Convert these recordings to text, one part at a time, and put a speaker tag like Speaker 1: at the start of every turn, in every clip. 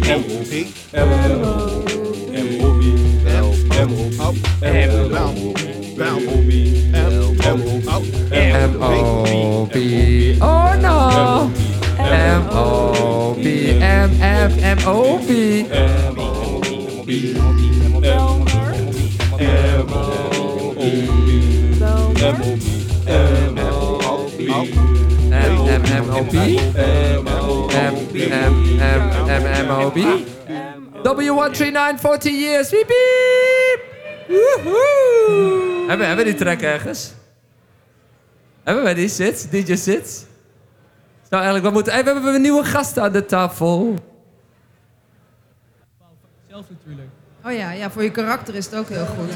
Speaker 1: P.
Speaker 2: MOB.
Speaker 1: M-O-B. Bel. Bel. M-O-B.
Speaker 3: M-O-B. Oh no. M-O-B. M-F-M-O-B. M-M-M-O-B. M-M-M-M-M-O-B. W139, 40 years. Wiep, wiep. Woehoe. Hebben, hebben we die track ergens? Hebben wij die zit? DJ zit? Nou, eigenlijk, we moeten. Hey, we hebben een nieuwe gast aan de tafel.
Speaker 4: Zelf natuurlijk.
Speaker 5: Oh ja, ja, voor je karakter is het ook heel goed.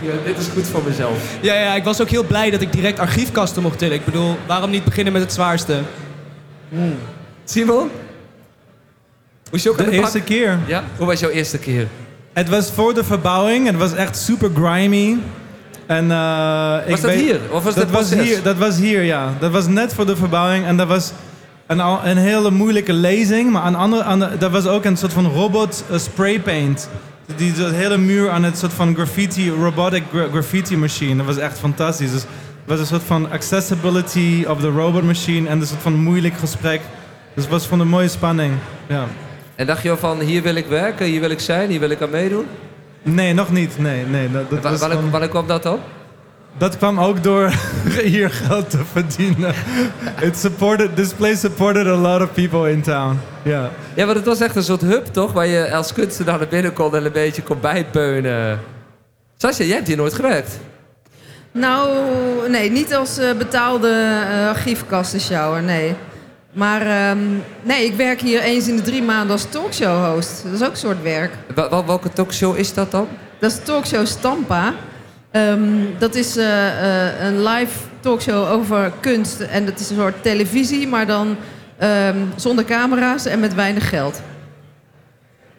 Speaker 5: Ja.
Speaker 3: dit is goed voor mezelf.
Speaker 4: Ja, ja, ik was ook heel blij dat ik direct archiefkasten mocht tillen. Ik bedoel, waarom niet beginnen met het zwaarste?
Speaker 3: Simon? Hoe is je ook aan
Speaker 6: De
Speaker 3: de
Speaker 6: eerste
Speaker 3: bak?
Speaker 6: keer.
Speaker 3: Ja, hoe was jouw eerste keer?
Speaker 6: Het was voor de verbouwing. Het was echt super grimy. En, eh, ik
Speaker 3: Was dat
Speaker 6: weet-
Speaker 3: hier? Of was dat
Speaker 6: was
Speaker 3: proces?
Speaker 6: hier, dat was hier, ja. Dat was net voor de verbouwing. En dat was een, al- een hele moeilijke lezing. Maar aan andere, aan de- dat was ook een soort van robot eh, spray paint. Die de hele muur aan het soort van graffiti, robotic gra- graffiti machine. Dat was echt fantastisch. Dus het was een soort van accessibility of the robot machine. En een soort van moeilijk gesprek. Dus het was van een mooie spanning. Ja.
Speaker 3: En dacht je al van, hier wil ik werken, hier wil ik zijn, hier wil ik aan meedoen?
Speaker 6: Nee, nog niet. Nee, nee. Dat, dat
Speaker 3: Wa-
Speaker 6: was
Speaker 3: Wanneer
Speaker 6: van-
Speaker 3: wanneer kwam dat dan?
Speaker 6: Dat kwam ook door hier geld te verdienen. It supported, this place supported a lot of people in town. Ja,
Speaker 3: Ja, want het was echt een soort hub, toch? Waar je als kunstenaar naar binnen kon en een beetje kon bijbeunen. Sascha, jij hebt hier nooit gewerkt.
Speaker 5: Nou, nee, niet als eh, betaalde eh, archiefkastenshower, nee. Maar ehm, nee, ik werk hier eens in de drie maanden als talkshow host. Dat is ook een soort werk.
Speaker 3: Wa- wa- welke talkshow is dat dan?
Speaker 5: Dat is de talkshow Stampa. Ehm, dat is eh, eh, een live talkshow over kunst. En dat is een soort televisie, maar dan ehm, zonder camera's en met weinig geld.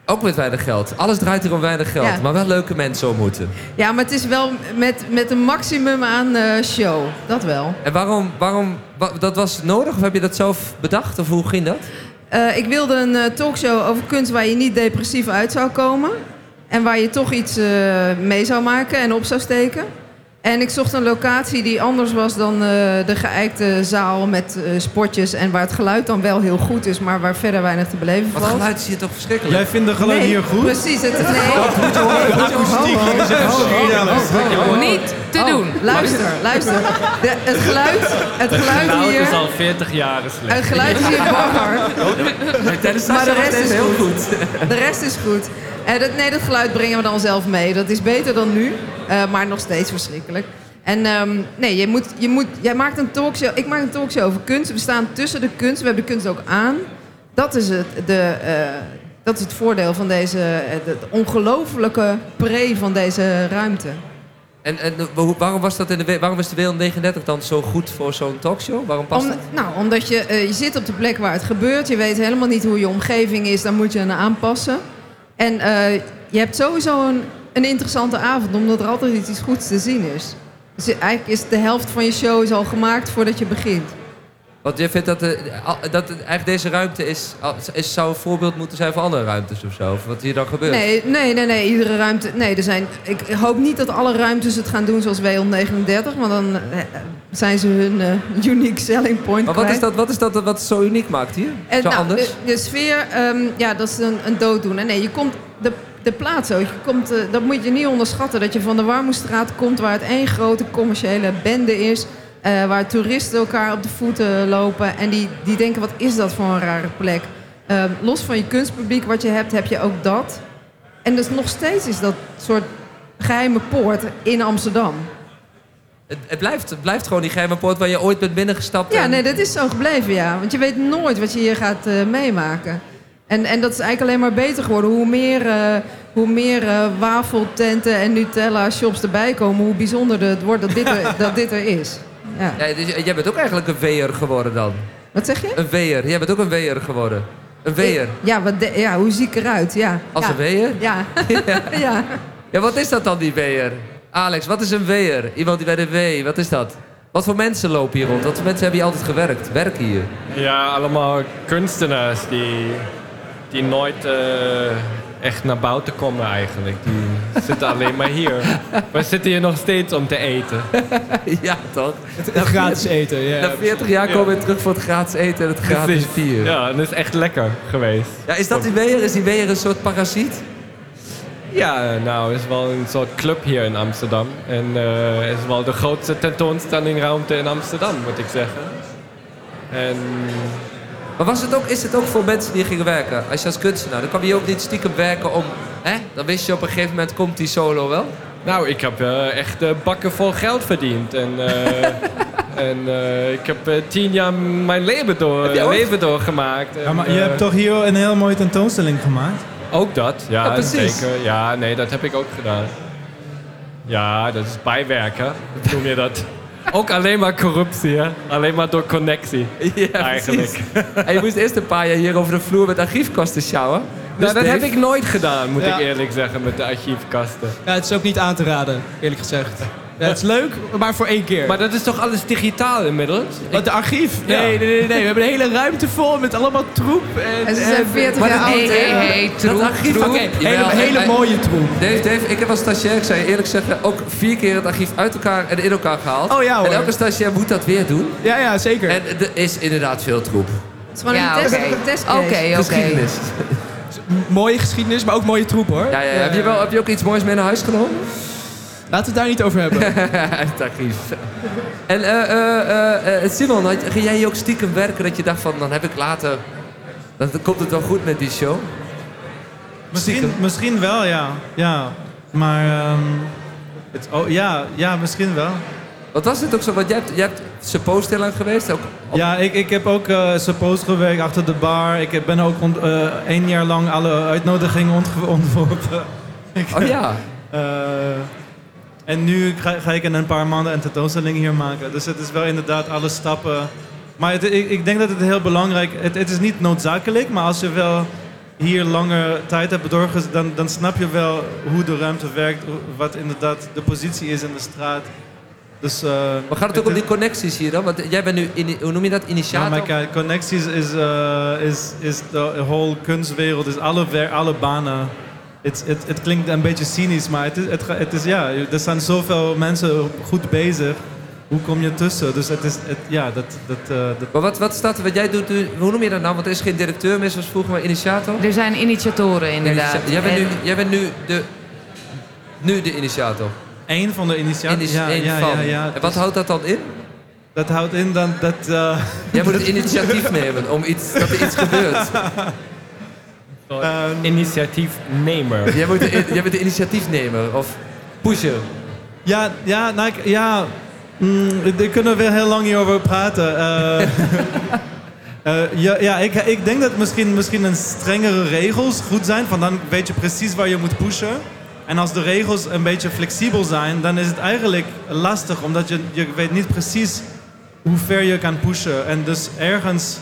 Speaker 3: Ook met weinig geld. Alles draait hier om weinig geld.
Speaker 5: Ja.
Speaker 3: Maar wel leuke mensen ontmoeten.
Speaker 5: Ja, maar het is wel met, met een maximum aan eh, show. Dat wel.
Speaker 3: En waarom, waarom wa- dat was nodig? Of heb je dat zelf bedacht? Of hoe ging dat?
Speaker 5: Eh, ik wilde een eh, talkshow over kunst waar je niet depressief uit zou komen. En waar je toch iets eh, mee zou maken en op zou steken. En ik zocht een locatie die anders was dan eh, de geëikte zaal met eh, spotjes. En waar het geluid dan wel heel goed is, maar waar verder weinig te beleven
Speaker 3: Wat
Speaker 5: valt.
Speaker 3: geluid zie je toch verschrikkelijk?
Speaker 6: jij vindt de geluid
Speaker 5: Nee,
Speaker 6: hier goed? Oh,
Speaker 5: Precies, het is nee. Oh,
Speaker 7: Niet te doen.
Speaker 5: Luister, luister. De, het geluid, het geluid
Speaker 8: Nou, het is
Speaker 5: hier.
Speaker 8: al 40 jaar slecht.
Speaker 5: Het geluid is hier bar.
Speaker 3: Nee, tijdens Sascha
Speaker 5: Maar de
Speaker 3: was
Speaker 5: rest
Speaker 3: deze
Speaker 5: is
Speaker 3: heel goed.
Speaker 5: De rest is goed. En dat, nee, dat geluid brengen we dan zelf mee. Dat is beter dan nu, eh, maar nog steeds verschrikkelijk. En ehm, nee, je moet, je moet, jij maakt een talkshow. Ik maak een talkshow over kunst. We staan tussen de kunst. We hebben de kunst ook aan. Dat is het, de, eh, dat is het voordeel van deze. eh, Het ongelofelijke pre van deze ruimte.
Speaker 3: En, en eh, hoe- waarom was dat in de we- waarom is de wereld 39 dan zo goed voor zo'n talkshow? Waarom past
Speaker 5: Om-
Speaker 3: dat?
Speaker 5: nou, omdat je, eh, je zit op de plek waar het gebeurt. Je weet helemaal niet hoe je omgeving is. Dan moet je aan aanpassen. En eh, je hebt sowieso een, een interessante avond, omdat er altijd iets goeds te zien is. Dus je- eigenlijk is de helft van je show is al gemaakt voordat je begint.
Speaker 3: Want je vindt dat, de, al- dat de- eigenlijk deze ruimte is, al- is, zou een voorbeeld moeten zijn voor andere ruimtes of zo? Of wat hier dan gebeurt?
Speaker 5: Nee, nee, nee, nee. Iedere ruimte. Nee, er zijn. Ik hoop niet dat alle ruimtes het gaan doen zoals W139, want dan eh, zijn ze hun eh, unique selling point.
Speaker 3: Maar wat
Speaker 5: kwijt.
Speaker 3: is dat wat, is dat wat het zo uniek maakt hier?
Speaker 5: En
Speaker 3: zo
Speaker 5: nou,
Speaker 3: anders?
Speaker 5: De, de sfeer, ehm, ja, dat is een, een dooddoener. Nee, je komt de, de plaats ook. Je komt, eh, dat moet je niet onderschatten. Dat je van de Warmoestraat komt, waar het één grote commerciële bende is. eh, waar toeristen elkaar op de voeten lopen. En die, die denken, wat is dat voor een rare plek? Ehm, los van je kunstpubliek wat je hebt, heb je ook dat. En dus nog steeds is dat soort geheime poort in Amsterdam.
Speaker 3: Het, het blijft, het blijft gewoon die geheime poort waar je ooit bent binnengestapt.
Speaker 5: Ja,
Speaker 3: en-
Speaker 5: nee, dat is zo gebleven, ja. Want je weet nooit wat je hier gaat eh, meemaken. En, en dat is eigenlijk alleen maar beter geworden. Hoe meer, eh, hoe meer eh, wafeltenten en Nutella-shops erbij komen... hoe bijzonderder het wordt dat dit er, dat dit er is. Ja.
Speaker 3: Ja, dus jij bent ook eigenlijk een weer geworden dan.
Speaker 5: Wat zeg je?
Speaker 3: Een weer. Jij bent ook een weer geworden. Een weer.
Speaker 5: Ja, wat de- ja, hoe zie ik eruit? Ja.
Speaker 3: Als
Speaker 5: ja.
Speaker 3: een weer?
Speaker 5: Ja. ja.
Speaker 3: Ja, wat is dat dan, die weer? Alex, wat is een weer? Iemand die bij de W, wat is dat? Wat voor mensen lopen hier rond? Wat voor mensen hebben hier altijd gewerkt? Werken hier?
Speaker 2: Ja, allemaal kunstenaars die, die nooit eh, echt naar buiten komen eigenlijk. Die zitten alleen maar hier. We zitten hier nog steeds om te eten.
Speaker 3: ja, toch?
Speaker 4: Het gratis eten, ja.
Speaker 3: Na 40 jaar komen we terug voor het gratis eten en het gratis
Speaker 2: Precies.
Speaker 3: bier. Ja.
Speaker 2: Ja, en dat is echt lekker geweest.
Speaker 3: is dat die weer? Is die weer een soort parasiet?
Speaker 2: Ja, nou, er is wel een soort club hier in Amsterdam. En eh, het is wel de grootste tentoonstellingruimte in Amsterdam, moet ik zeggen. En
Speaker 3: Maar was het ook, is het ook voor mensen die gingen werken? Als je als kunstenaar, dan kwam je ook niet stiekem werken om... Hè? Dan wist je op een gegeven moment, komt die solo wel?
Speaker 2: nou, ik heb eh, echt eh, bakken vol geld verdiend. En, eh, en eh, ik heb eh, tien jaar mijn leven, door,
Speaker 3: je ook-
Speaker 2: leven doorgemaakt.
Speaker 6: Ja, maar
Speaker 2: En,
Speaker 6: je
Speaker 2: eh,
Speaker 6: hebt toch hier een heel mooie tentoonstelling gemaakt?
Speaker 2: Ook dat, ja,
Speaker 3: Ja, precies.
Speaker 2: zeker. Ja, nee, dat heb ik ook gedaan. Ja, dat is bijwerken, noem je dat. Ook alleen maar corruptie, hè? Alleen maar door connectie.
Speaker 3: Ja,
Speaker 2: Eigenlijk.
Speaker 3: precies. En je moest eerst een paar jaar hier over de vloer met archiefkasten sjouwen. Dus
Speaker 2: Nou, dat
Speaker 3: Dave-
Speaker 2: heb ik nooit gedaan, moet
Speaker 4: Ja.
Speaker 2: ik eerlijk zeggen, met de archiefkasten.
Speaker 4: Ja, het is ook niet aan te raden, eerlijk gezegd. Ja, het is leuk, maar voor één keer.
Speaker 2: Maar dat is toch alles digitaal inmiddels?
Speaker 4: Wat, de archief? Nee, nee, nee, nee. We hebben een hele ruimte vol met allemaal troep. En,
Speaker 5: En ze zijn 40
Speaker 3: Eh, maar
Speaker 5: jaar
Speaker 3: dat-
Speaker 5: oud,
Speaker 7: Hé, hé,
Speaker 5: hè?
Speaker 7: hé, troep,
Speaker 3: archief-
Speaker 7: troep.
Speaker 3: Oké.
Speaker 4: hele,
Speaker 3: Jawel,
Speaker 4: hele
Speaker 3: en-
Speaker 4: mooie troep.
Speaker 3: Dave, Dave, ik heb als stagiair, ik zou je eerlijk zeggen, ook vier keer het archief uit elkaar en in elkaar gehaald.
Speaker 4: Oh ja, hoor.
Speaker 3: En elke stagiair moet dat weer doen.
Speaker 4: Ja, ja, zeker.
Speaker 3: En er is inderdaad veel troep.
Speaker 5: Het is gewoon
Speaker 7: Ja,
Speaker 5: een test,
Speaker 7: oké.
Speaker 5: een testcase.
Speaker 7: Oké, oké.
Speaker 3: Geschiedenis.
Speaker 4: mooie geschiedenis, maar ook mooie troep, hoor. Eh,
Speaker 3: Ja, ja, Heb, je wel, heb je ook iets moois mee naar huis genomen?
Speaker 4: Laten we het daar niet over hebben.
Speaker 3: Uit het archief. En eh, eh, eh, eh, Simon, had, ging jij je ook stiekem werken dat je dacht van, dan heb ik later... Dan komt het wel goed met die show.
Speaker 6: Misschien, misschien wel, ja. ja. Maar ehm, het, oh, ja, ja, misschien wel.
Speaker 3: Wat was het ook zo? Want jij hebt, jij hebt supposed heel lang geweest. Ook,
Speaker 6: Ja, ik, ik heb ook eh suppose gewerkt achter de bar. Ik heb- ben ook ont- eh, één jaar lang alle uitnodigingen ontge- ontworpen. Ik,
Speaker 3: oh ja.
Speaker 6: eh, en nu ga, ga ik in een paar maanden een tentoonstelling hier maken. Dus het is wel inderdaad alle stappen. Maar het, ik, ik denk dat het heel belangrijk is. Het, het is niet noodzakelijk, maar als je wel hier langer tijd hebt doorgezet, dan, dan snap je wel hoe de ruimte werkt. hoe- Wat inderdaad de positie is in de straat. Dus, eh,
Speaker 3: Maar gaat het ook om
Speaker 6: is-
Speaker 3: die connecties hier dan? Want jij bent nu, ini- hoe noem je dat,
Speaker 6: ja,
Speaker 3: initiator?
Speaker 6: maar kijk, connecties is, eh, is, is de whole kunstwereld, is alle, wer- alle banen. Het, het, het klinkt een beetje cynisch, maar het is, het, ga- het is, ja, er zijn zoveel mensen goed bezig. Hoe kom je tussen? Dus het is, het, ja, dat, dat, eh, dat
Speaker 3: Maar wat, wat staat er, wat jij doet, nu- hoe noem je dat nou? Want er is geen directeur meer zoals vroeger, maar initiator?
Speaker 7: Er zijn initiatoren, inderdaad.
Speaker 3: Jij bent, nu,
Speaker 7: En-
Speaker 3: jij bent nu, de, nu de initiator.
Speaker 6: één van de initiatieven.
Speaker 3: Initi-
Speaker 6: Ja,
Speaker 3: één
Speaker 6: ja,
Speaker 3: van.
Speaker 6: ja, ja.
Speaker 3: En wat houdt dat dan in?
Speaker 6: Dat houdt in dan dat. eh,
Speaker 3: Jij moet het initiatief nemen om iets, dat er iets gebeurt.
Speaker 6: ehm,
Speaker 2: Initiatiefnemer.
Speaker 3: Jij, moet de, in- jij bent de initiatiefnemer of pusher.
Speaker 6: ja, ja, nou, ik- ja. Mm, daar kunnen we weer heel lang hierover praten. Eh, Eh, ja, ja ik, ik denk dat misschien, misschien een strengere regels goed zijn. Van dan weet je precies waar je moet pushen. En als de regels een beetje flexibel zijn, dan is het eigenlijk lastig. Omdat je, je weet niet precies hoe ver je kan pushen. En dus ergens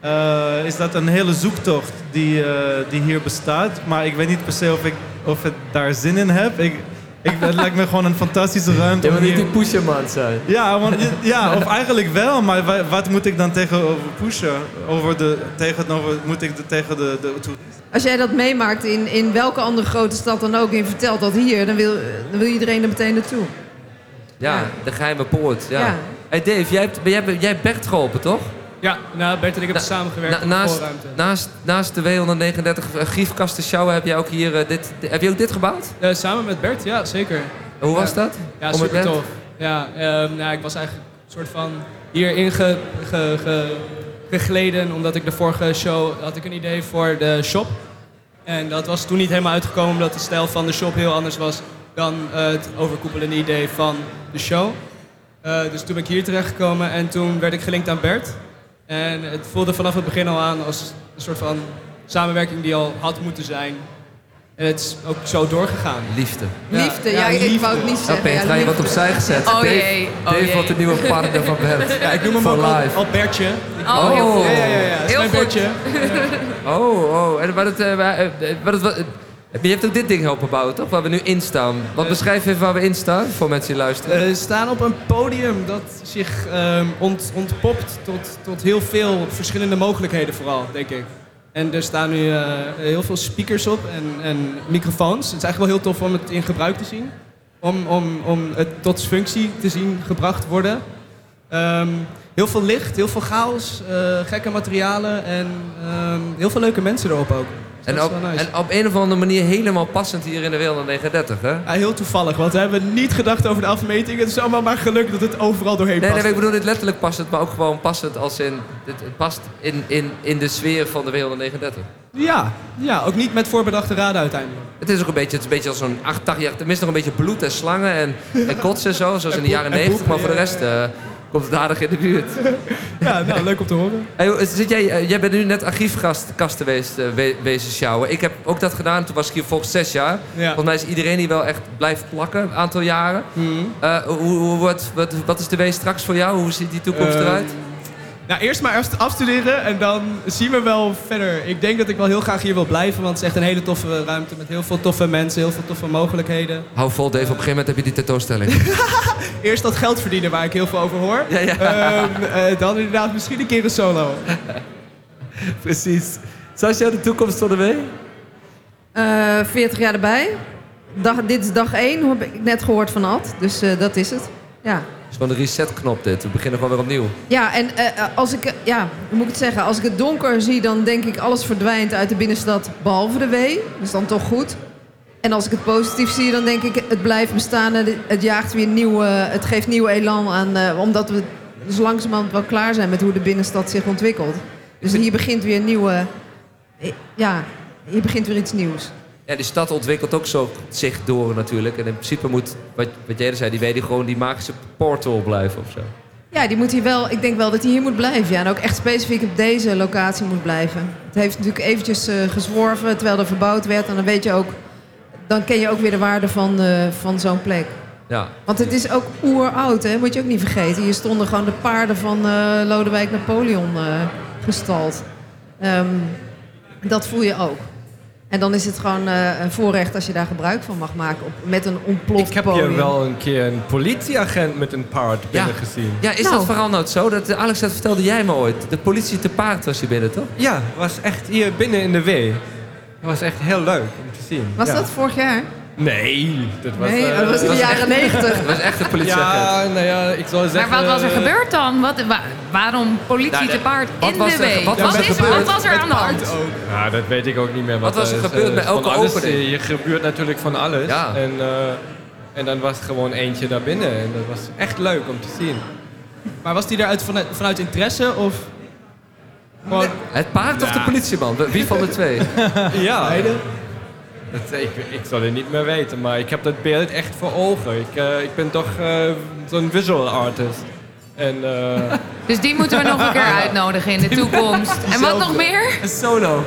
Speaker 6: eh, is dat een hele zoektocht die, eh, die hier bestaat. Maar ik weet niet per se of ik, of ik daar zin in heb. Ik, ik, het lijkt me gewoon een fantastische ruimte.
Speaker 3: Jij
Speaker 6: om
Speaker 3: moet niet
Speaker 6: hier-
Speaker 3: die pusherman zijn.
Speaker 6: ja, want, je- ja, of eigenlijk wel, maar wa- wat moet ik dan tegenover pushen? Over de, tegenover, moet ik de, tegen de, de toerist?
Speaker 5: Als jij dat meemaakt in, in welke andere grote stad dan ook... en je vertelt dat hier, dan wil, dan wil iedereen er meteen naartoe.
Speaker 3: Ja,
Speaker 5: Ja.
Speaker 3: de geheime poort. Ja.
Speaker 5: Ja.
Speaker 3: Hey Dave, jij hebt, jij, hebt- jij hebt Bert geholpen, toch?
Speaker 4: Ja, nou, Bert en ik hebben
Speaker 3: Na-
Speaker 4: samengewerkt
Speaker 3: Na-
Speaker 4: op de
Speaker 3: naast,
Speaker 4: voorruimte.
Speaker 3: naast, naast de W139 griefkasten sjouwen heb jij ook hier eh, dit, heb je ook dit gebouwd?
Speaker 4: Eh, samen met Bert, ja, zeker.
Speaker 3: Hoe was dat?
Speaker 4: Ja,
Speaker 3: Om het
Speaker 4: super
Speaker 3: net?
Speaker 4: tof. Ja, ehm, nou, ik was eigenlijk een soort van hierin ge, ge, ge- gegleden, omdat ik de vorige show had ik een idee voor de shop. En dat was toen niet helemaal uitgekomen, omdat de stijl van de shop heel anders was dan eh, het overkoepelende idee van de show. Eh, dus toen ben ik hier terechtgekomen en toen werd ik gelinkt aan Bert. En het voelde vanaf het begin al aan als een soort van samenwerking die al had moeten zijn. En het is ook zo doorgegaan.
Speaker 3: Liefde.
Speaker 4: Ja,
Speaker 5: Liefde,
Speaker 4: ja,
Speaker 5: ja, ik
Speaker 4: liefde.
Speaker 5: wou het niet
Speaker 3: Nou,
Speaker 5: zeggen.
Speaker 3: Peter,
Speaker 5: ja,
Speaker 3: ga je wat
Speaker 5: liefde.
Speaker 3: opzij gezet.
Speaker 7: Oh
Speaker 3: Dave,
Speaker 7: jee, oh
Speaker 3: Dave
Speaker 7: jee.
Speaker 3: wordt de nieuwe partner van Bert.
Speaker 4: Ja, ik noem hem
Speaker 3: For
Speaker 4: ook al,
Speaker 3: life.
Speaker 4: al Bertje.
Speaker 7: Oh, heel
Speaker 3: Oh.
Speaker 7: goed.
Speaker 4: Ja, ja, ja. ja. Dat is
Speaker 7: Heel
Speaker 4: mijn
Speaker 7: goed.
Speaker 4: Bertje.
Speaker 3: Oh, oh. En wat het, eh, wa- eh, wat het, wa- eh, Je hebt ook dit ding helpen bouwen, toch? Waar we nu in staan. Wat beschrijf even waar we in staan, voor mensen die luisteren.
Speaker 4: We Eh, staan op een podium dat zich ehm, ont, ontpopt tot, tot heel veel verschillende mogelijkheden vooral, denk ik. En er staan nu eh, heel veel speakers op en, en microfoons. Het is eigenlijk wel heel tof om het in gebruik te zien. Om, om, om het tot z'n functie te zien gebracht worden. Ehm, heel veel licht, heel veel chaos, eh, gekke materialen en ehm, heel veel leuke mensen erop ook. Dus
Speaker 3: en,
Speaker 4: dat is
Speaker 3: op,
Speaker 4: wel nice.
Speaker 3: en op een of andere manier helemaal passend hier in de wereld 39, hè?
Speaker 4: Ja, heel toevallig, want we hebben niet gedacht over de afmeting. Het is allemaal maar geluk dat het overal doorheen
Speaker 3: Nee,
Speaker 4: past.
Speaker 3: nee, ik bedoel dit letterlijk passend, maar ook gewoon passend als in... Het, het past in, in, in de sfeer van de wereld 39.
Speaker 4: Ja, ja, ook niet met voorbedachte raden uiteindelijk.
Speaker 3: Het is ook een beetje, het is een beetje als zo'n 8, 8 jaar... Tenminste, nog een beetje bloed en slangen en, en kotsen en zo, zoals in de
Speaker 4: poep-
Speaker 3: jaren
Speaker 4: en
Speaker 3: 90. Maar
Speaker 4: poep,
Speaker 3: voor de
Speaker 4: ja,
Speaker 3: rest eh, komt het aardig in de buurt.
Speaker 4: Ja, nou, leuk om te horen.
Speaker 3: Hey, hoe- zit jij, eh, jij bent nu net archiefkast kast geweest, eh, we- wezen sjouwen. Ik heb ook dat gedaan, toen was ik hier volgens zes jaar.
Speaker 4: Ja.
Speaker 3: Volgens mij is iedereen hier wel echt blijven plakken, een aantal jaren.
Speaker 4: Mhm.
Speaker 3: Eh, hoe, hoe, wat, wat, wat is de wees straks voor jou? Hoe ziet die toekomst
Speaker 4: Ehm,
Speaker 3: eruit?
Speaker 4: Nou, eerst maar eerst afstuderen en dan zien we wel verder. Ik denk dat ik wel heel graag hier wil blijven, want het is echt een hele toffe ruimte met heel veel toffe mensen, heel veel toffe mogelijkheden.
Speaker 3: Hou vol, Dave. Op een gegeven moment heb je die tentoonstelling.
Speaker 4: Eerst dat geld verdienen, waar ik heel veel over hoor.
Speaker 3: ja, ja,
Speaker 4: Ehm, eh, dan inderdaad misschien een keer een solo.
Speaker 3: precies. Sascha, de toekomst van de wee?
Speaker 5: Eh, 40 jaar erbij. Dag, dit is dag 1, heb ik net gehoord van Ad. Dus eh, dat is het. Ja.
Speaker 3: Het is gewoon een resetknop dit. We beginnen gewoon weer opnieuw.
Speaker 5: Ja, en eh, eh, als ik, eh, ja, hoe moet ik het zeggen? Als ik het donker zie, dan denk ik alles verdwijnt uit de binnenstad, behalve de wee. Dat is dan toch goed. En als ik het positief zie, dan denk ik het blijft bestaan. en Het jaagt weer nieuw, eh, het geeft nieuw elan aan, eh, omdat we dus langzamerhand wel klaar zijn met hoe de binnenstad zich ontwikkelt. Dus hier begint weer een nieuwe, eh, ja, hier begint weer iets nieuws.
Speaker 3: Ja, die stad ontwikkelt ook zo zich door natuurlijk. En in principe moet, wat, wat jij er zei, die wee die gewoon die magische portal blijven of zo.
Speaker 5: Ja, die moet hier wel, ik denk wel dat hij hier moet blijven. Ja. En ook echt specifiek op deze locatie moet blijven. Het heeft natuurlijk eventjes eh, gezworven terwijl er verbouwd werd. En dan weet je ook, dan ken je ook weer de waarde van, eh, van zo'n plek.
Speaker 3: Ja,
Speaker 5: Want het is ook oeroud, hè? moet je ook niet vergeten. Hier stonden gewoon de paarden van eh, Lodewijk Napoleon eh, gestald. Ehm, dat voel je ook. En dan is het gewoon eh, een voorrecht als je daar gebruik van mag maken. Op, met een ontploft
Speaker 2: Ik heb
Speaker 5: podium.
Speaker 2: hier wel een keer een politieagent met een paard
Speaker 3: Ja.
Speaker 2: binnen gezien.
Speaker 3: Ja, is
Speaker 5: Nou.
Speaker 3: dat veranderd zo? Dat, eh, Alex, dat vertelde jij me ooit. De politie te paard was hier binnen, toch?
Speaker 2: Ja, was echt hier binnen in de wee. Dat was echt heel leuk om te zien.
Speaker 5: Was
Speaker 2: Ja.
Speaker 5: dat vorig jaar?
Speaker 2: Nee, dat was...
Speaker 5: nee,
Speaker 2: eh,
Speaker 5: dat was in de jaren negentig.
Speaker 3: Dat was echt een politieagent.
Speaker 4: Ja, nou ja, ik zou
Speaker 7: Maar
Speaker 4: zeggen...
Speaker 7: wat was er gebeurd dan? Wat, wa- waarom politie
Speaker 3: Nou,
Speaker 7: te paard
Speaker 3: wat
Speaker 7: in
Speaker 3: was
Speaker 7: de
Speaker 3: er-
Speaker 7: wee?
Speaker 3: wat was er
Speaker 7: is- wat
Speaker 3: gebeurd
Speaker 7: was er aan de hand?
Speaker 2: Ja, Nou, dat weet ik ook niet meer.
Speaker 3: Wat was er
Speaker 2: eh,
Speaker 3: gebeurd
Speaker 2: eh,
Speaker 3: bij
Speaker 2: van
Speaker 3: elke
Speaker 2: alles,
Speaker 3: opening?
Speaker 2: eh, Je gebeurt natuurlijk van alles.
Speaker 3: Ja.
Speaker 2: En, eh, en dan was er gewoon eentje daar binnen. En dat was echt leuk om te zien.
Speaker 4: Maar was die eruit vanuit, vanuit interesse of... Gewoon
Speaker 3: Het paard of de
Speaker 2: Ja.
Speaker 3: politieman? Wie van de twee?
Speaker 2: Ja,
Speaker 4: beide?
Speaker 2: dat, ik, ik zal het niet meer weten, maar ik heb dat beeld echt voor ogen. Ik, eh, ik ben toch eh, zo'n visual artist. En eh,
Speaker 7: Dus die moeten we nog een keer uitnodigen in de toekomst. En wat nog meer?
Speaker 3: Een solo.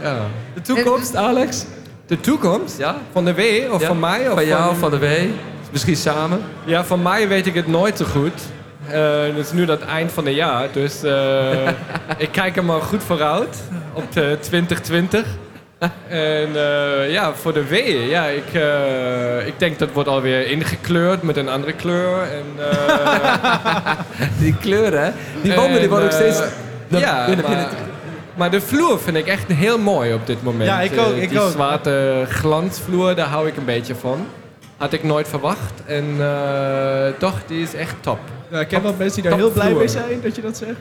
Speaker 2: ja.
Speaker 3: De toekomst, Alex?
Speaker 2: De toekomst?
Speaker 3: Ja?
Speaker 2: Van de W of
Speaker 3: Ja,
Speaker 2: van mij? Of
Speaker 3: Van jou, van de wee? Misschien samen?
Speaker 2: Ja, van mij weet ik het nooit zo goed. Eh, Het is nu dat eind van het jaar, dus eh, ik kijk hem al goed vooruit op de 2020. En eh, ja, voor de W, ja, ik, eh, ik denk dat wordt alweer ingekleurd met een andere kleur. En, eh,
Speaker 3: Die kleuren, hè? Die wanden die
Speaker 2: en,
Speaker 3: worden ook steeds...
Speaker 2: eh,
Speaker 3: Dan-
Speaker 2: ja,
Speaker 3: dan heb je
Speaker 2: maar,
Speaker 3: het-
Speaker 2: maar de vloer vind ik echt heel mooi op dit moment.
Speaker 6: Ja, ik ook,
Speaker 2: Eh,
Speaker 6: ik
Speaker 2: die
Speaker 6: ook.
Speaker 2: zwarte glansvloer, daar hou ik een beetje van. Had ik nooit verwacht. En eh, toch, die is echt top.
Speaker 4: Ja, ik ken wel mensen die daar heel blij mee zijn dat je dat zegt.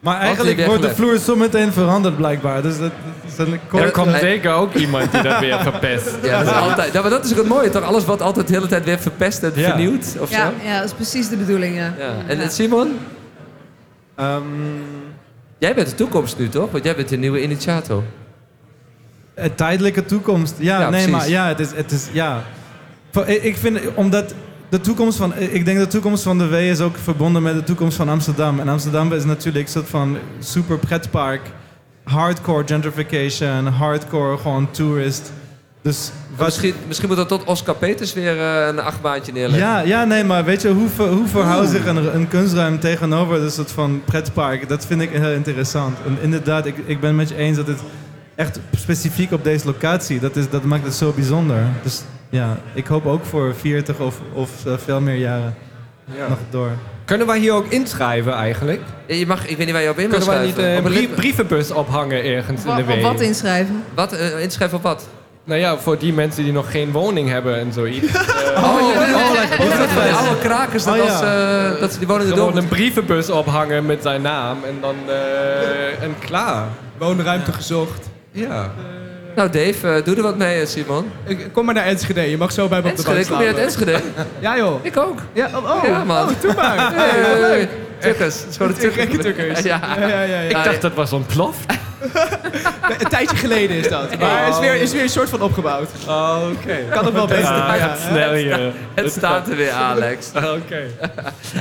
Speaker 6: Maar eigenlijk
Speaker 3: die
Speaker 6: wordt de
Speaker 3: weggelegd.
Speaker 6: vloer zometeen veranderd blijkbaar. Dus dat, dat is een kort...
Speaker 2: Er komt
Speaker 3: Nee.
Speaker 2: zeker ook iemand die dat weer verpest.
Speaker 3: ja, dat is altijd... Ja, maar dat is ook het mooie, toch? Alles wat altijd de hele tijd weer verpest en
Speaker 2: Ja.
Speaker 3: vernieuwd, of
Speaker 5: Ja,
Speaker 3: zo?
Speaker 5: ja, dat is precies de bedoeling. Ja.
Speaker 3: Ja. En, en Simon,
Speaker 6: Ehm,
Speaker 3: jij bent de toekomst nu, toch? Want jij bent de nieuwe initiator.
Speaker 6: Een tijdelijke toekomst. Ja,
Speaker 3: Ja,
Speaker 6: nee,
Speaker 3: precies.
Speaker 6: maar ja, het is, het is ja. Voor- Ik ik vind, omdat de toekomst van, ik denk de toekomst van de W is ook verbonden met de toekomst van Amsterdam. En Amsterdam is natuurlijk een soort van super pretpark, hardcore gentrification, hardcore gewoon tourist. Dus wat,
Speaker 3: Misschien, misschien moet dat tot Oscar Peters weer eh, een achtbaantje neerleggen.
Speaker 6: ja, ja, nee, maar weet je, hoe, ver, hoe verhoudt zich een, een kunstruim dus tegenover een soort van pretpark? Dat vind ik heel interessant. En inderdaad, ik, ik ben met je eens dat het echt specifiek op deze locatie. Dat, is, dat maakt het zo bijzonder. Dus ja, ik hoop ook voor 40 of, of eh, veel meer jaren
Speaker 2: Ja.
Speaker 6: nog door.
Speaker 2: Kunnen wij hier ook inschrijven eigenlijk?
Speaker 3: Ja, Je mag, ik weet niet waar je op in mag
Speaker 2: Kunnen wij niet
Speaker 3: schrijven.
Speaker 2: eh,
Speaker 3: Op
Speaker 2: een
Speaker 3: een
Speaker 2: brie-
Speaker 3: lid-
Speaker 2: brievenbus ophangen ergens in
Speaker 5: Wa-
Speaker 2: de
Speaker 5: Op
Speaker 2: week?
Speaker 5: wat inschrijven?
Speaker 3: Wat? eh, inschrijven op wat?
Speaker 2: Nou ja, voor die mensen die nog geen woning hebben en zoiets.
Speaker 3: Oh, je de oude krakers, dat,
Speaker 6: Oh, ja.
Speaker 3: als, eh, dat ze die woningen door
Speaker 2: Gewoon een brievenbus ophangen met zijn naam en dan eh, en klaar.
Speaker 4: Woonruimte gezocht.
Speaker 2: Ja.
Speaker 3: Nou Dave, eh, doe er wat mee eh, Simon.
Speaker 4: Ik- Kom maar naar Enschede, je mag zo bij me op de
Speaker 3: Enschede,
Speaker 4: bank
Speaker 3: ik kom je uit
Speaker 4: staan.
Speaker 3: Enschede?
Speaker 4: Ja joh.
Speaker 3: Ik ook.
Speaker 4: Ja, oh, oh.
Speaker 3: Ja, man.
Speaker 4: oh, doe maar.
Speaker 3: Hey, hey, hey. Tukkers, het is gewoon de
Speaker 4: Gekke
Speaker 3: tukkers.
Speaker 4: tukkers.
Speaker 3: Ja.
Speaker 4: Ja, ja, ja, ja.
Speaker 2: Ik dacht dat was ontploft.
Speaker 4: Een tijdje geleden is dat. Maar is weer, is weer een soort van opgebouwd.
Speaker 2: Oké.
Speaker 4: Kan ook wel beter.
Speaker 2: Ja, ja, snel je.
Speaker 3: Het staat er weer, Alex.
Speaker 2: Oké.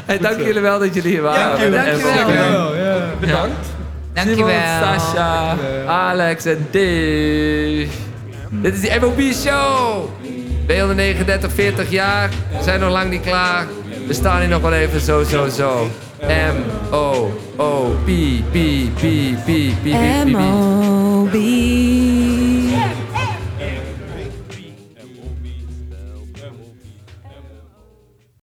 Speaker 3: Hey, dank jullie wel dat jullie hier waren.
Speaker 4: Dank je wel.
Speaker 3: En
Speaker 7: Dankjewel.
Speaker 4: Dankjewel, ja.
Speaker 2: Bedankt.
Speaker 3: Simon,
Speaker 7: Dankjewel.
Speaker 3: Sasha, Alex en Dave. Dit is die MOB Show. 239, 40 jaar. We zijn nog lang niet klaar. We staan hier nog wel even zo, zo, zo. M, O, O, P, P, P, P, P, P, P.
Speaker 7: M-O-B.